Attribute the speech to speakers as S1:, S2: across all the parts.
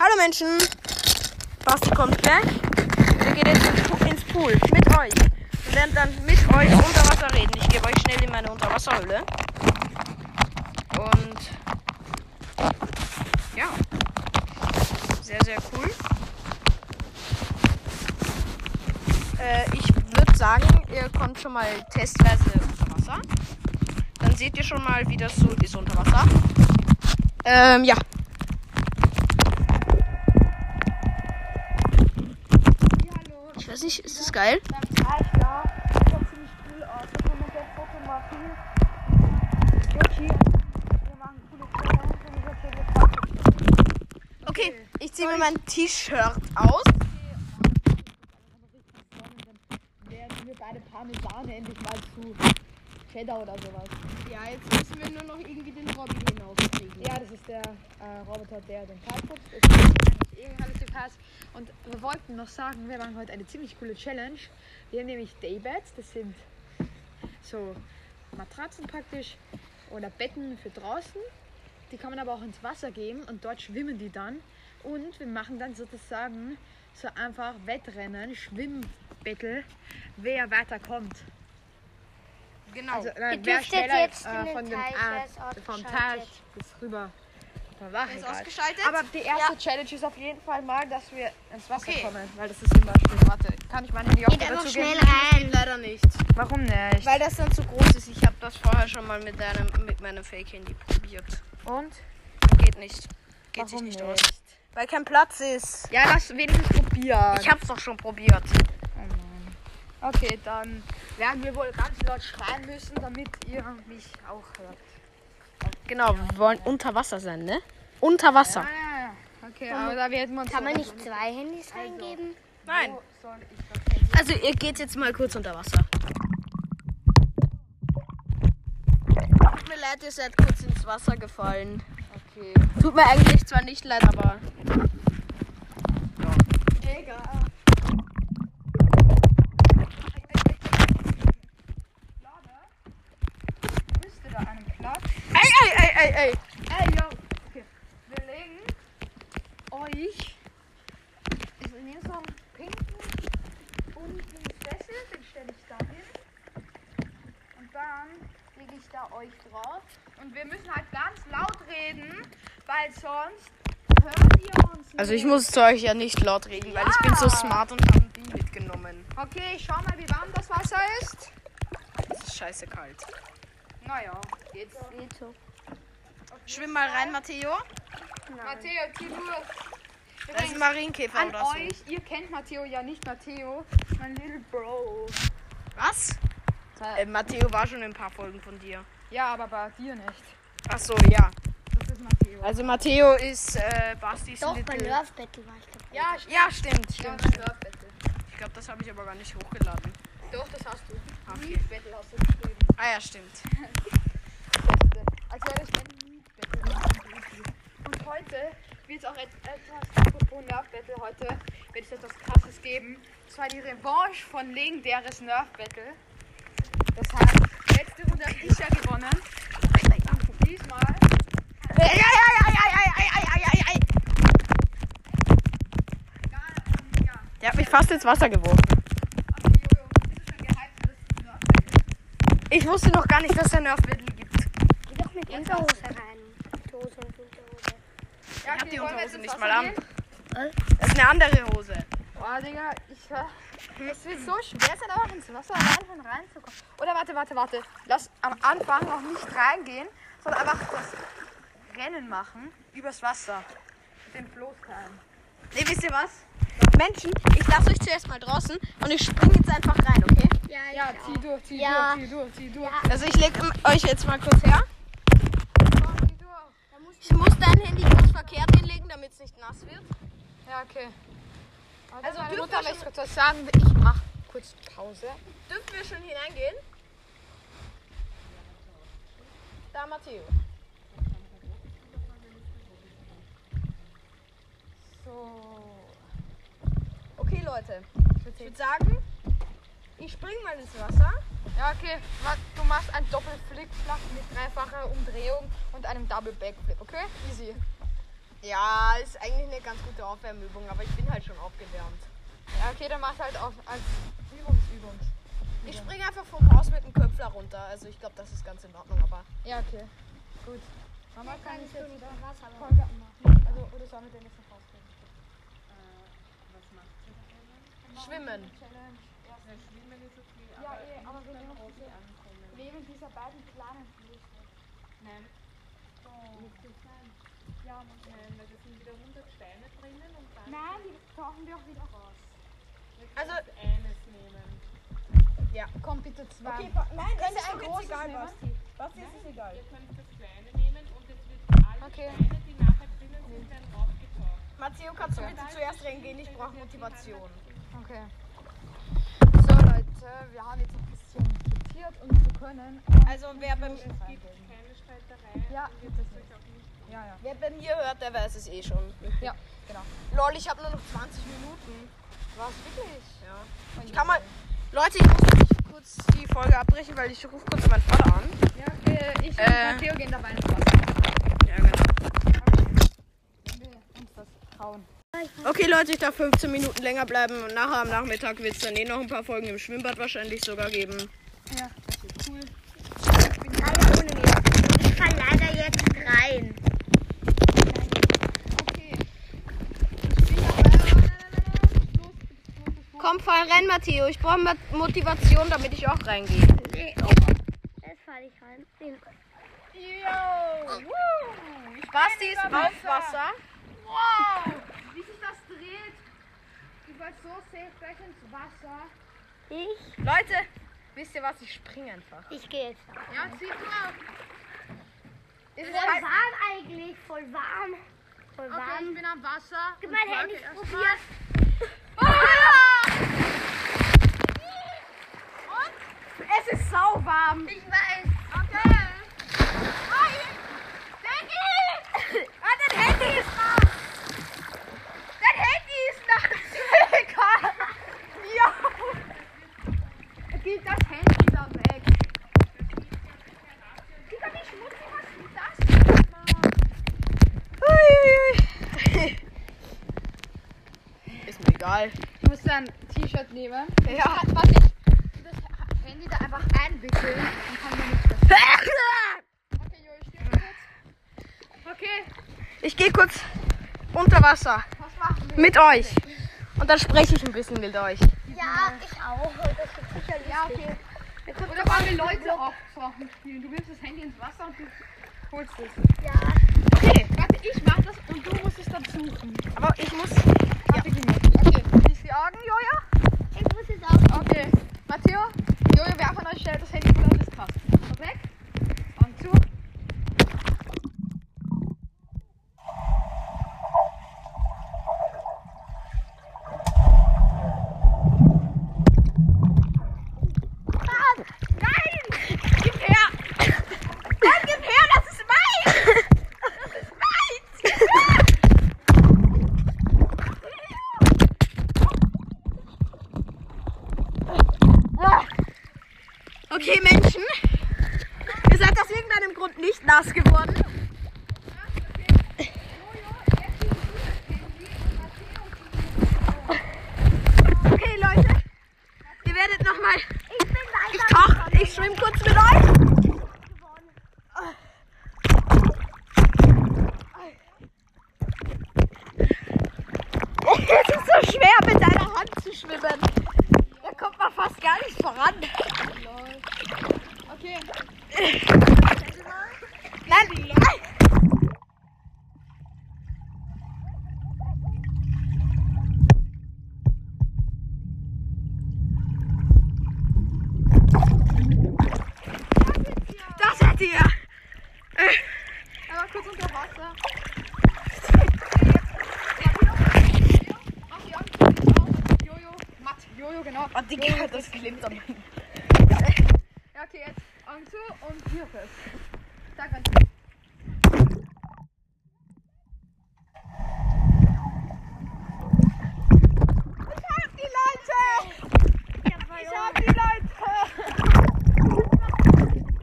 S1: Hallo Menschen! Basti kommt gleich. Wir gehen jetzt ins Pu- ins Pool mit euch. Wir werden dann mit euch unter Wasser reden. Ich gebe euch schnell in meine Unterwasserhöhle. Und ja, sehr, sehr cool. Äh, ich würde sagen, ihr kommt schon mal testweise unter Wasser. Dann seht ihr schon mal, wie das so ist unter Wasser. Ähm, ja.
S2: Hallo.
S1: Ich weiß nicht, ist das geil?
S2: Beim Teich da. Sieht doch ziemlich cool aus. Da kann man sehr fotografieren. Okay. Wir machen coole Fotos. Und wir können jetzt machen.
S1: Okay, ich ziehe mir mein T-Shirt aus.
S2: Dann werden wir beide Parmesane endlich mal zu Cheddar oder sowas.
S3: Ja, jetzt müssen wir nur noch irgendwie den Robby hinauskriegen.
S2: Ja, das ist der äh, Roboter, der den Karl putzt. Irgendwann ist gepasst. Und wir wollten noch sagen, wir machen heute eine ziemlich coole Challenge. Wir haben nämlich Daybeds, das sind so Matratzen praktisch oder Betten für draußen. Die kann man aber auch ins Wasser geben und dort schwimmen die dann. Und wir machen dann sozusagen so einfach Wettrennen, Schwimmbattle, wer weiterkommt.
S1: Genau.
S2: Also, äh,
S4: Ihr
S2: wer
S4: dürftet
S2: schneller
S4: jetzt in
S2: äh,
S4: den
S2: von dem
S4: Teich,
S2: ah,
S4: der ist
S2: vom
S4: ausgeschaltet.
S2: Teich bis rüber. Da war
S1: Ist
S2: egal.
S1: ausgeschaltet?
S2: Aber die erste Challenge ist auf jeden Fall mal, dass wir ins Wasser
S1: Okay.
S2: kommen, weil das ist immer schön. Warte, kann ich mein Handy auch
S4: Geht einfach schnell rein.
S1: leider nicht.
S2: Warum nicht?
S1: Weil das dann zu groß ist. Ich habe das vorher schon mal mit deinem mit meinem Fake Handy probiert.
S2: Und?
S1: Geht nicht. Geht sich
S2: Warum
S1: nicht,
S2: nicht?
S1: aus. Weil kein Platz ist.
S2: Ja, lass wenigstens probieren.
S1: Ich hab's doch schon probiert.
S2: okay, dann werden wir wohl ganz laut schreien müssen, damit ihr mich auch hört.
S1: Genau, wir wollen unter Wasser sein, ne? Unter Wasser.
S2: Ah, Okay, aber da werden wir uns
S4: Kann man nicht zwei Handys reingeben?
S1: Nein.
S2: soll ich
S1: Also ihr geht jetzt mal kurz unter Wasser. Tut mir leid, ihr seid kurz ins Wasser gefallen.
S2: Okay.
S1: Tut mir eigentlich zwar nicht leid, aber.
S2: Müsste da einen Platz
S1: Ey, ey, ey, ey, ey!
S2: Ey, yo. Okay. Wir legen euch. Ich nehme so einen pinken und einen Sessel, den stelle ich da hin. Und dann lege ich da euch drauf. Und wir müssen halt ganz laut reden, weil sonst hört ihr uns nicht.
S1: Also ich muss zu euch ja nicht laut reden, weil ich bin so smart und habe die mitgenommen.
S2: Okay, schau mal, wie warm das Wasser ist.
S1: Es ist scheiße kalt.
S2: Naja.
S1: Jetzt
S4: Geht so.
S1: schwimm mal rein, Matteo.
S2: Matteo, zieh durch.
S1: Das ist Marienkäfer
S2: An
S1: oder so.
S2: euch, ihr kennt Matteo ja nicht, Matteo, mein little bro.
S1: Was? Äh, Matteo war schon in ein paar Folgen von dir.
S2: Ja, aber bei dir nicht.
S1: Ach so, ja.
S2: Das ist Matteo.
S1: Also Matteo ist äh, Bastis
S4: Doch, bei
S1: Little.
S4: Love Battle war ich dabei.
S2: Ja,
S1: Ja, stimmt,
S2: Ja,
S1: stimmt.
S2: mein Surfbattle.
S1: Ich glaube, das habe ich aber gar nicht hochgeladen.
S2: Doch, das hast du.
S1: Okay.
S2: Mietbattle hast du geschrieben. Also,
S1: Ah ja, stimmt.
S2: Als wäre ich ein Mietbattle. Und heute wird es auch et etwas, apropos Nerfbattle, heute wird es etwas krasses geben. Und zwar die Revanche von legendäres Nerfbattle. Das heißt, letzte Runde habe ich ja gewonnen. Und diesmal
S1: Ei, ei, ei, ei, ei, ei, ei, ei, ei, ei. Der hat mich fast ins Wasser geworfen. Ich wusste noch gar nicht, dass er Nerfmittel gibt.
S4: Geh doch mit Unterhose rein. Mit Hose und Unterhose.
S2: Ja,
S1: Ich hab die
S2: wollen wir jetzt
S1: Unterhose
S2: ins
S1: nicht
S2: Wasser
S1: mal an.
S2: gehen?
S1: Das ist eine andere Hose.
S3: Oh,
S2: Boah, Digga, ich hör.
S3: äh,
S2: Es wird so schwer sein, auch ins Wasser allein schon reinzukommen. Oder warte, warte, warte. Lass am Anfang noch nicht reingehen, sondern einfach das Rennen machen übers Wasser. Mit dem Floßteil.
S1: Ne, wisst ihr was? Menschen, ich lasse euch zuerst mal draußen und ich springe jetzt einfach rein, okay?
S4: Ja, ich
S2: Ja,
S4: auch.
S2: zieh durch, zieh
S4: Ja.
S2: durch, zieh durch, zieh durch.
S1: Also ich lege euch jetzt mal kurz her.
S2: Komm, zieh durch.
S1: Ich muss dein Handy kurz verkehrt hinlegen, damit es nicht nass wird.
S2: Ja, okay.
S1: Also
S2: Also,
S1: dürfen
S2: meine
S1: wir
S2: Mutter
S1: schon-
S2: möchte kurz was sagen. Ich mach kurz Pause.
S1: Dürfen wir schon hineingehen? Da, Matteo.
S2: So.
S1: Okay, Leute. Ich würde sagen, ich springe mal ins Wasser.
S2: Ja, okay. Ma- Du machst einen Doppelflickflach mit dreifacher Umdrehung und einem Double Backflip, okay? Easy.
S1: Ja, ist eigentlich eine ganz gute Aufwärmübung, aber ich bin halt schon aufgewärmt.
S2: Ja, okay, dann mach's halt auf als Übungsübung.
S1: Ich springe einfach vom Haus mit dem Köpfler runter. Also ich glaube, das ist ganz in Ordnung, aber.
S2: Ja, okay. Gut. Mama
S4: Kann ich
S2: jetzt
S4: jetzt nicht Wasser machen.
S2: Vollgarten machen. Also, oder sollen wir den jetzt noch rausgehen?
S1: Schwimmen.
S2: Challenge. Ja, eh, aber wir nehmen diese, nehmen dieser beiden kleinen Flüsse.
S5: Nein,
S2: Oh. Ja, Mann.
S5: nein, weil da sind wieder 100 Steine drinnen und dann
S2: Nein, die tauchen wir auch wieder raus.
S1: Also,
S5: eines nehmen.
S2: Komm bitte zwei.
S3: Okay, pa- nein, es ist doch jetzt egal,
S2: nehmen?
S3: Basti. Basti, es ist egal.
S5: Ihr könnt das kleine nehmen und jetzt wird alle
S2: Okay.
S5: Steine, die nachher drinnen sind, dann aufgetaucht.
S1: Matteo, kannst du
S2: Okay.
S1: bitte zuerst reingehen? Ich brauche Motivation.
S2: Okay. So Leute, wir haben jetzt ein bisschen diskutiert
S3: um
S2: und wir können.
S1: Also, wer bei,
S5: Es gibt keine Streiterei
S2: Ja.
S5: und wird das euch auch nicht
S2: Ja, ja.
S1: wer bei mir hört, der weiß es eh schon.
S2: Ja, genau.
S1: Lol, ich habe nur noch 20 Minuten. Was, wirklich? Ja.
S2: Ich
S1: Ich kann mal. Leute, ich muss kurz die Folge abbrechen, weil ich rufe kurz meinen Vater an.
S2: Ja, okay, ich und
S1: Äh.
S2: Matteo gehen dabei ins Wasser.
S1: Ja, genau.
S2: Wenn wir uns das trauen.
S1: Okay, Leute, ich darf 15 Minuten länger bleiben und nachher am Nachmittag wird es dann eh noch ein paar Folgen im Schwimmbad wahrscheinlich sogar geben.
S2: Ja. Cool.
S4: Leider ohne mich. Ich kann leider jetzt rein.
S1: Komm, voll rein, Matteo. Ich brauche Motivation, damit ich auch reingehe.
S4: Nee, oh. Jetzt falle ich rein. Nee.
S1: Basti ist auf Wasser.
S3: Wie sich das dreht. Ich wollte so safe gleich ins Wasser.
S4: Ich?
S1: Leute, wisst ihr was? Ich springe einfach.
S4: Ich gehe jetzt. rein.
S3: Ja, zieh drauf.
S4: Voll warm eigentlich. Voll warm. Voll
S3: Okay, ich
S4: warm.
S3: bin am Wasser.
S4: Gib
S3: und
S4: mein
S3: frage
S4: Handy
S3: erst
S4: probiert.
S1: Es ist
S2: Genau,
S1: sauwarm.
S4: Ich weiß.
S1: Ah, dein Handy ist nass. Dein Handy ist nass. Egal.
S3: Gib das Handy da weg. Digga, wie schmutzig, was ist das?
S1: Ist mir egal.
S2: Ich muss dann ein T-Shirt nehmen.
S1: Ja.
S2: Was ich das Handy da einfach einwickeln und kann mir nicht das. Okay, Jo, ich stehe kurz. Okay,
S1: Ich gehe kurz unter Wasser.
S2: was machen wir?
S1: Mit euch. Und dann spreche ich ein bisschen mit euch.
S4: Ja, ich auch. Das wird sicher lustig.
S2: Ja, okay. Oder wollen wir Leute aufzocken spielen? Du wirfst das Handy ins Wasser und du holst es.
S4: Ja.
S1: Okay,
S2: Warte, ich mach das und du musst es dann suchen.
S1: aber ich muss.
S2: Ja. Okay, schließ die Augen, Jojo.
S4: Ich muss jetzt auch.
S2: Okay, Matteo, Jojo, wir haben euch schnell das Handy voll auf das Kasten. Und weg. Und zu.
S1: Okay, Menschen. Ihr seid aus irgendeinem Grund nicht nass geworden. Okay, Leute. Ihr werdet nochmal
S4: Ich bin weiter.
S1: gekocht. Ich schwimme kurz mit euch. Es ist so schwer, mit deiner Hand zu schwimmen. Da kommt man fast gar nicht voran.
S2: Okay,
S1: Nein. Das seid ihr.
S2: aber kurz unter Wasser. Jojo, Matt, Jojo, genau.
S1: Oh, Digga, das klemmt am
S2: Ja, okay, jetzt Augen zu und hier fest. Sag mal.
S1: Ich hab die Leute.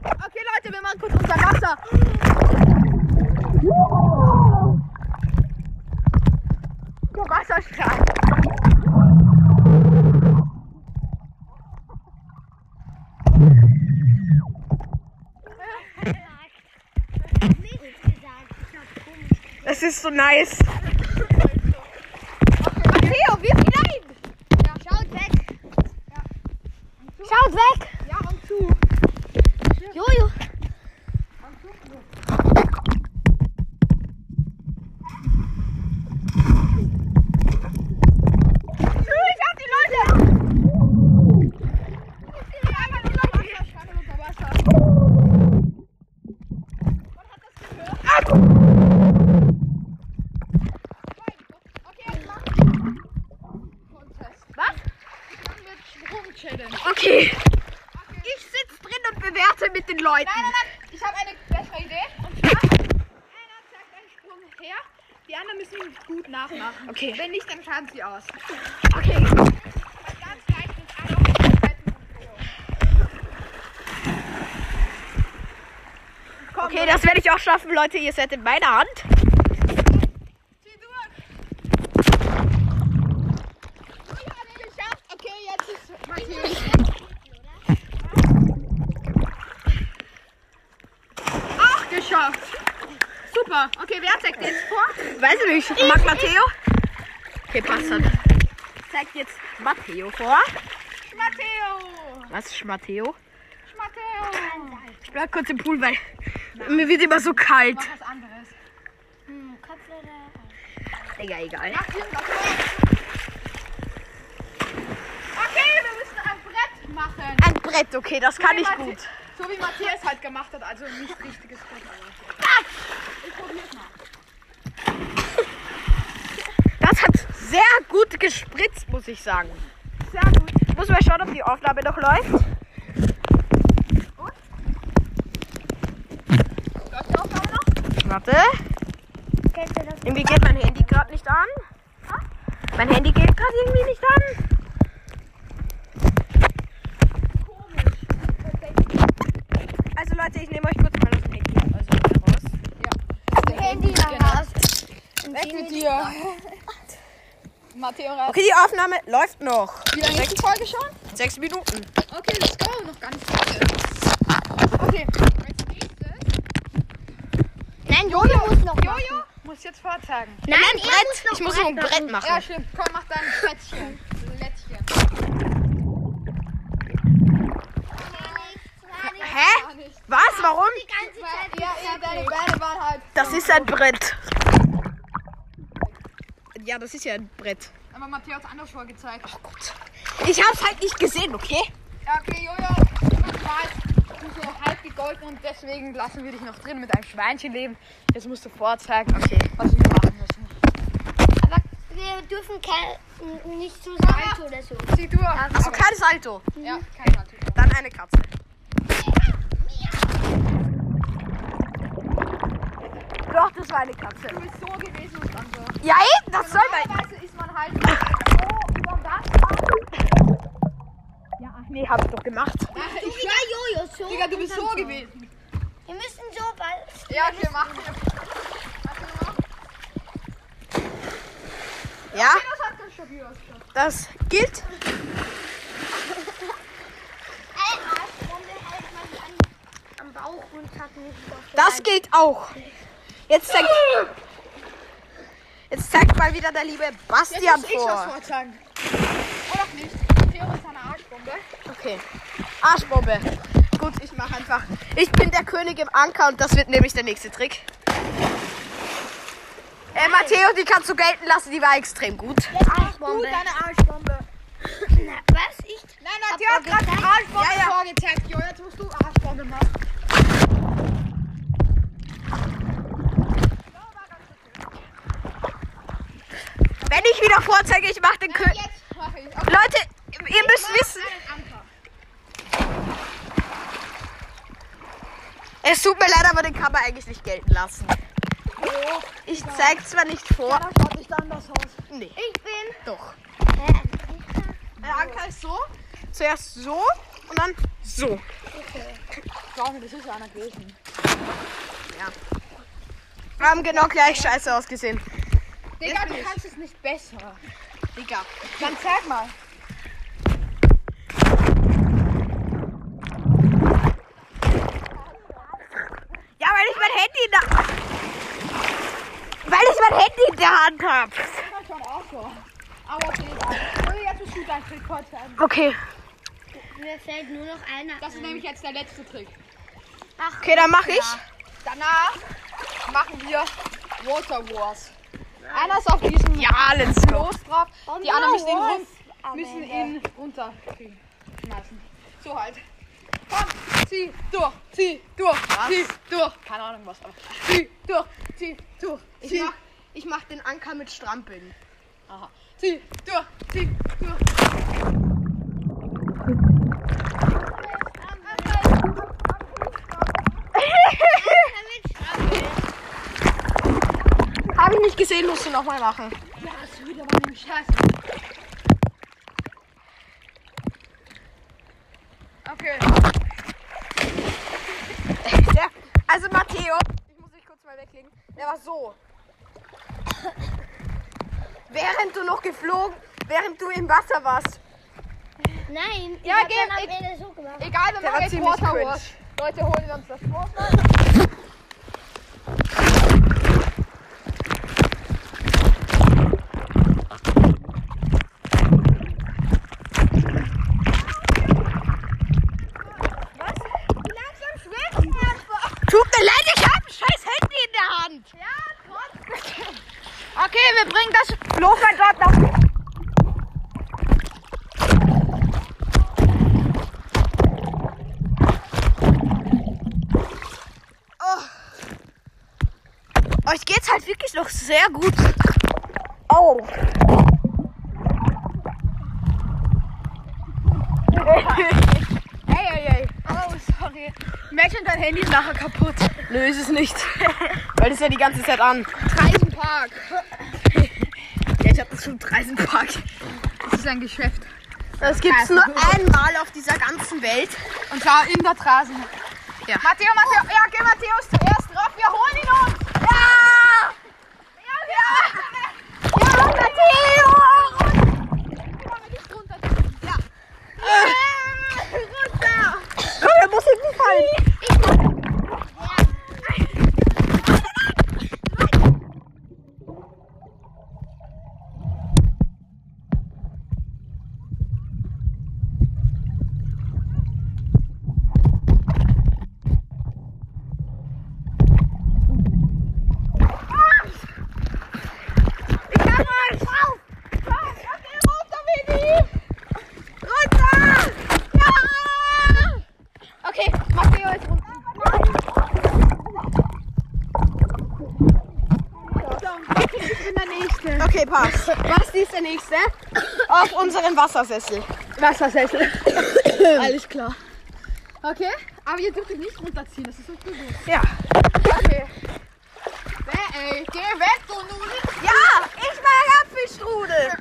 S1: Okay, Leute, wir machen kurz unser Wasser.
S2: Der Wasserstrahl.
S4: Nichts gesagt. Ich hab komisch.
S1: Das ist so nice.
S4: Theo, wirf ihn rein! Ja. Schaut weg! Schaut weg!
S2: Ja, und zu.
S4: Jojo!
S1: Okay.
S2: Ich sitze drin und bewerte mit den Leuten.
S3: Ich habe eine bessere Idee. Und zwar, einer zeigt einen Sprung her, die anderen müssen ihn gut nachmachen.
S1: Okay.
S2: Wenn nicht, dann schaden sie aus.
S3: Weil ganz leicht ist einer auf der zweiten
S1: Okay, das werde ich auch schaffen, Leute. Ihr seid in meiner Hand.
S3: Zieh durch. Ich hab's geschafft. Okay, jetzt ist Matthias.
S2: Auch geschafft. Super. Okay, wer zeigt jetzt vor?
S1: Weiß ich nicht. Mag Matteo? Okay, passt dann. Zeigt jetzt Matteo vor.
S3: Matteo.
S1: Was ist Matteo?
S3: Matteo.
S1: Ich bleib kurz im Pool, weil mir wird immer so kalt.
S3: Was anderes.
S1: Hm, Digga, egal.
S3: Ach, hier ist das Brett. Okay, wir müssen ein Brett machen.
S1: Ein Brett, okay, das kann ich
S3: Matteo-
S1: gut.
S2: So wie Matthias halt gemacht hat, also nicht richtiges Bild.
S1: Das hat sehr gut gespritzt, muss ich sagen.
S2: Sehr gut.
S1: Muss mal schauen, ob die Aufnahme noch läuft.
S2: Läuft die Aufnahme noch?
S1: Warte.
S4: Kennst du das?
S1: Irgendwie geht mein Handy gerade nicht an. Mein Handy geht gerade irgendwie nicht an. Also Leute, ich nehme euch kurz mal aus dem Handy also wieder raus.
S4: Handy raus.
S2: Weg mit dir. Matteo, raus.
S1: Okay, die Aufnahme läuft noch.
S2: wie lange ist die Folge schon?
S1: Sechs Minuten.
S2: Okay, let's go. Noch ganz kurz. Okay. Als nächstes
S4: Nein, Jojo muss noch. Jojo?
S2: muss jetzt vorzeigen.
S4: Nein, er muss noch
S1: Ich muss noch ein Brett machen.
S2: Ja, stimmt. Komm, mach dein Plätzchen. Plätzchen.
S1: Hä? Was? Warum?
S4: Die ganze Zeit.
S2: Ja, ja, deine Beine waren halt.
S1: Das ist ein Brett. Ja, das ist ja ein Brett.
S2: Aber Matteo hat anders vorgezeigt.
S1: Oh Ich hab's halt nicht gesehen, okay?
S2: Ja, okay, Jojo, das war's. Du bist so halb gegolten und deswegen lassen wir dich noch drin mit einem Schweinchen leben. Jetzt musst du vorzeigen, okay, was wir machen müssen.
S4: Aber wir dürfen ke- nicht zu sagen oder so.
S2: Zieh durch.
S1: Also kein Salto.
S2: Mhm. ja, kein Mathe.
S1: Dann eine Katze. Doch, das war eine Katze.
S2: Du bist so gewesen und dann so.
S1: Ja, eben, das soll man.
S2: Normalerweise ist man halt so über das.
S1: Ach nee, hab ich doch gemacht.
S4: Du wieder Jojo, so.
S2: Digga, du bist
S4: und
S2: so
S4: dann
S2: gewesen.
S4: Wir müssen so, weil.
S2: Ja, okay, mach. Hast du gemacht?
S1: Ja,
S2: Das hat ganz stabil ausgeschaut.
S1: das gilt.
S4: Eine Arschrunde hält man die an, am Bauch und hat nicht auf der
S1: Das gilt auch. Jetzt zeigt, jetzt zeigt mal wieder der liebe
S2: Jetzt
S1: Bastian
S2: muss ich was
S1: vor.
S2: vorzeigen. Oder auch nicht. Matteo ist eine Arschbombe.
S1: Okay. Arschbombe.
S2: Gut, ich mach einfach.
S1: Ich bin der König im Anker und das wird nämlich der nächste Trick. Äh, Matteo, die kannst du gelten lassen, die war extrem gut.
S4: Jetzt Arschbombe.
S2: Deine Arschbombe.
S4: Na, was? Ich?
S2: Nein, nein, die hat gerade die Arschbombe
S1: Ja, ja.
S2: vorgezeigt. Jo, jetzt musst du Arschbombe machen.
S1: Wenn ich wieder vorzeige, ich mach den König.
S2: Äh, Jetzt mache ich.
S1: Leute, ihr müsst wissen, es tut mir leid, aber den kann man eigentlich nicht gelten lassen. Ich zeig's zwar nicht vor.
S2: Oh, Das schaut nicht anders aus.
S1: Nee. Ich bin. Doch.
S2: Der
S1: Äh,
S2: Anker ist so.
S1: halt Zuerst so und dann so.
S2: Schau mir, das ist ja einer gewesen.
S1: Wir haben genau gleich scheiße ausgesehen.
S4: Digga, du kannst es nicht besser.
S1: Digga.
S4: Dann zeig mal.
S1: Ja, weil ich mein Handy in der Weil ich mein Handy in der Hand habe.
S3: kann schon auch so. Aber Digga, und jetzt bist du dein Trick heute.
S1: Okay.
S4: Mir fällt nur noch einer.
S3: Das ist nämlich jetzt der letzte Trick.
S1: Okay, dann mache ich.
S3: Danach machen wir Water Wars. Einer ist auf diesem
S1: Ja, let's go.
S3: Los drauf,
S1: Oh,
S3: die
S4: no,
S3: anderen müssen ihn,
S4: was?
S3: run müssen ihn runterkriegen. Schmeißen. So halt. Komm, zieh durch, zieh durch, zieh durch.
S2: Keine Ahnung was, aber.
S3: Zieh durch, zieh durch,
S1: Ich
S3: zieh,
S1: mach, ich mach den Anker mit Strampeln.
S3: zieh durch, zieh durch.
S1: Habe ich nicht gesehen, musst du nochmal machen.
S3: Okay,
S1: Der, also Matteo, ich muss dich kurz mal weglegen. Der war so. während du noch geflogen, während du im Wasser warst.
S4: Nein, ich
S3: Ja,
S4: hab
S3: geh,
S4: dann am
S3: ich-
S4: Ende so gemacht.
S3: egal, wir
S1: Der
S3: machen
S1: war
S3: jetzt
S1: ziemlich
S3: Water
S1: cringe.
S3: Wars. Leute, holen wir uns das Water.
S1: Tut mir leid, ich habe ein scheiß Handy in der Hand. Ja, trotzdem. Okay, wir bringen das Lofer dort nach. Oh. Euch geht's halt wirklich noch sehr gut. Oh. Ey, ey, ey.
S3: Oh, sorry. Imagine, dein Handy ist nachher kaputt.
S1: Nö, ist es nicht. Weil das ja die ganze Zeit an.
S3: Treisenpark.
S1: Ja, ich hab das schon Reisenpark.
S2: Das ist ein Geschäft.
S1: Das gibt's nur einmal auf dieser ganzen Welt.
S2: Und zwar in der Trasen.
S3: Matteo, Matteo, ja, geh Matthäus zuerst drauf, wir holen ihn uns!
S1: Oh, da muss ich nicht fallen. Okay, passt. Was ist der nächste? Auf unseren Wassersessel.
S2: Wassersessel. Alles klar. Okay, aber ihr dürft euch nicht runterziehen, das ist so cool.
S1: Ja.
S2: Ey, geh weg, du Nudel!
S1: Ja, ich mag Apfelstrudel.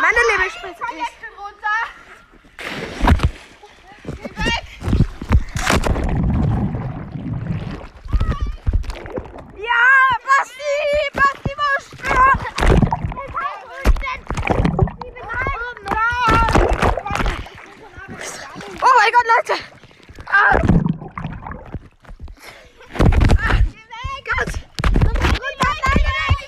S1: Meine liebe Spritze ist. Ja, Basti, Basti muss spüren. Oh mein Gott, Leute. Ah. Ah.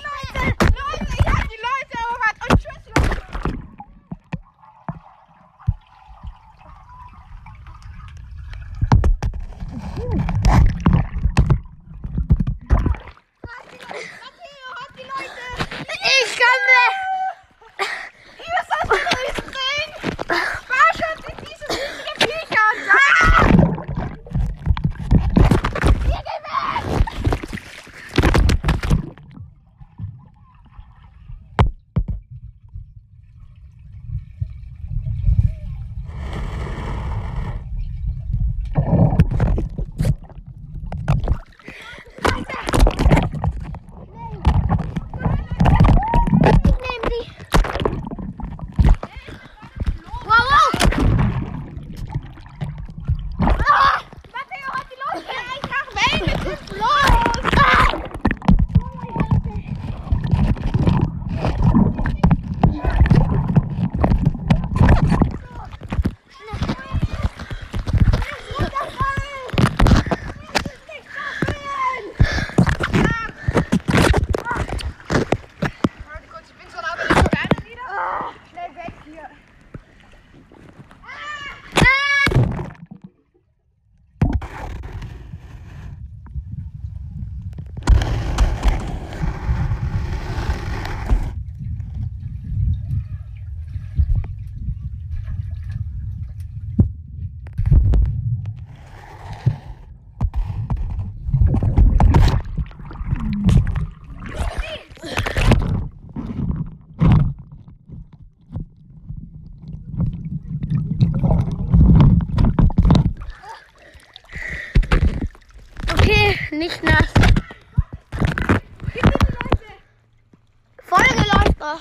S1: Gott. Runter, nein, nein, nein. Ja.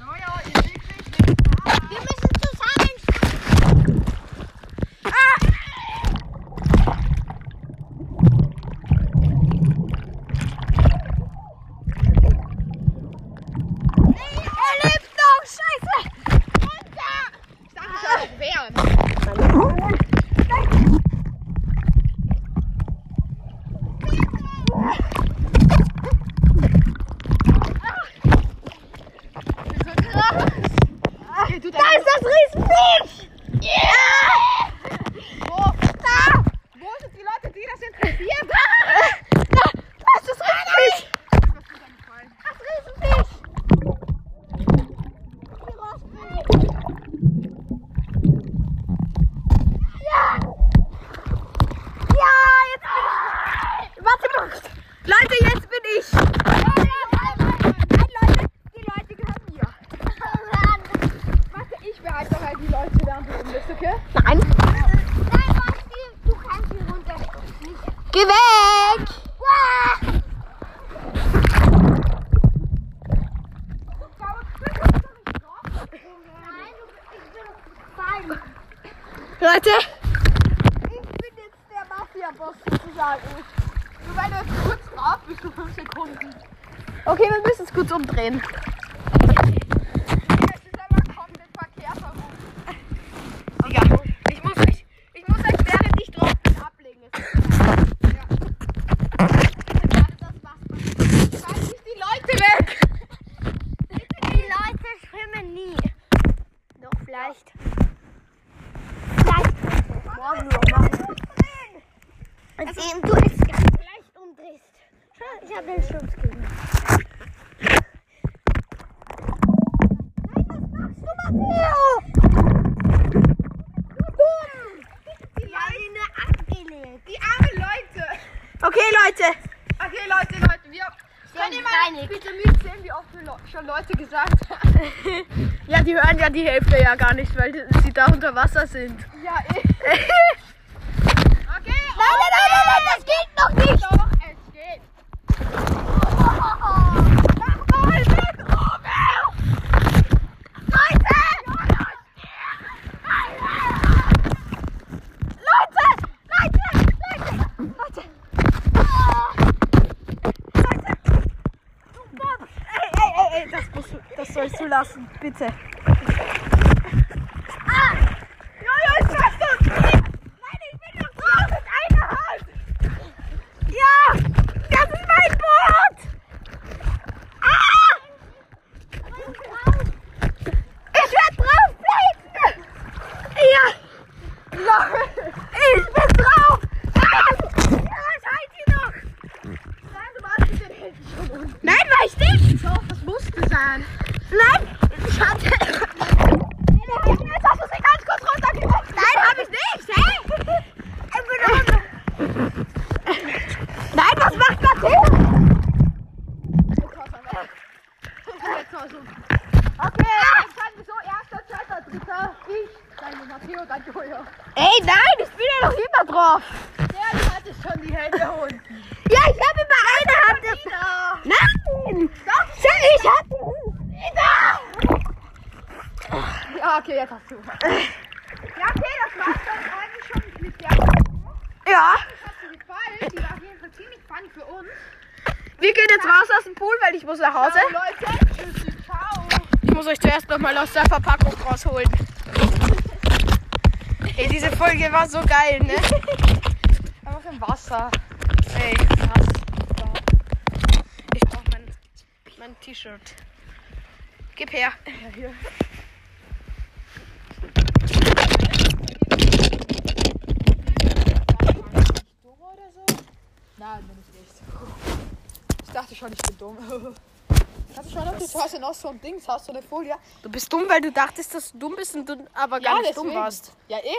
S2: Naja, ihr seht nicht, nicht wahr.
S4: Wir müssen zusammen. Ah! Nee, er lebt noch! Scheiße! Runter! Da ist das Riesenfisch! Ja! Ah! Wo? Da!
S2: Wo sind die Leute, die das interessiert?
S4: Ja, da! Da! Da ist das Riesenfisch! Das Riesenfisch! Hier raus, rein! Ja! Ja, jetzt bin ich... Warte mal! Leute, jetzt bin ich! Nein, Leute, die Leute gehören mir!
S2: Warte, ich behalte doch halt die Leute da oben, ist okay?
S1: Nein.
S4: Nein, Basti, du kannst hier runter. Geh weg!
S1: Leute. Ich bin jetzt der Mafia-Boss sozusagen. Nur weil du jetzt kurz drauf bist, für 5 Sekunden. Okay, wir müssen es kurz umdrehen.
S2: Es ist aber komplett verkehrt herum.
S1: Digga, ich muss euch, ich muss euch während ich drauf bin ablegen. Es ist
S4: Die Leute schwimmen nie. Doch vielleicht. Vielleicht. Morgen noch mal. Also, du jetzt vielleicht umdrehst. Schau, ich habe den Schutz gegeben. Nein, was machst du, Matteo? Du dumm. Die Leine abgelegt.
S2: Die armen Leute.
S1: Okay, Leute.
S2: Okay, Leute, Leute, wir... Könnt ihr mal bitte mitzählen, wie oft wir Leu- schon Leute gesagt haben?
S1: Ja, die hören ja die Hälfte ja gar nicht, weil sie da unter Wasser sind.
S2: Ja, eh. Okay,
S4: Nein, nein, nein, nein, nein, das geht noch nicht.
S2: doch, es geht.
S1: Das sollst du lassen, bitte.
S4: Ey, nein, ich bin ja noch immer drauf.
S2: Ja, du hattest schon die Hände hoch.
S4: Ja, ich habe immer eine Hand. Das... Nein! Sally, ich hatte. Nein!
S2: Ja, okay, jetzt hast du. Ja, okay, das war's dann eigentlich schon mit der
S1: Ja,
S2: Folge. Die war auf jeden Fall ziemlich spannend für uns.
S1: wir gehen jetzt raus aus dem Pool, weil ich muss nach Hause.
S2: Ciao, Leute, tschüssi, ciao.
S1: Ich muss euch zuerst nochmal aus der Verpackung rausholen. Ey, diese Folge war so geil, ne?
S2: Einfach im Wasser.
S1: Ey, krass. Ich brauch mein, mein T-Shirt. Gib her.
S2: Doro oder so? Nein, bin ich nicht. Ich dachte schon, ich bin dumm. Hast du schon auf die Tasse noch so ein Dings? Hast du eine Folie?
S1: Du bist dumm, weil du dachtest, dass du dumm bist und du aber gar
S2: Ja,
S1: nicht dumm
S2: deswegen.
S1: warst.
S2: Ja, eh.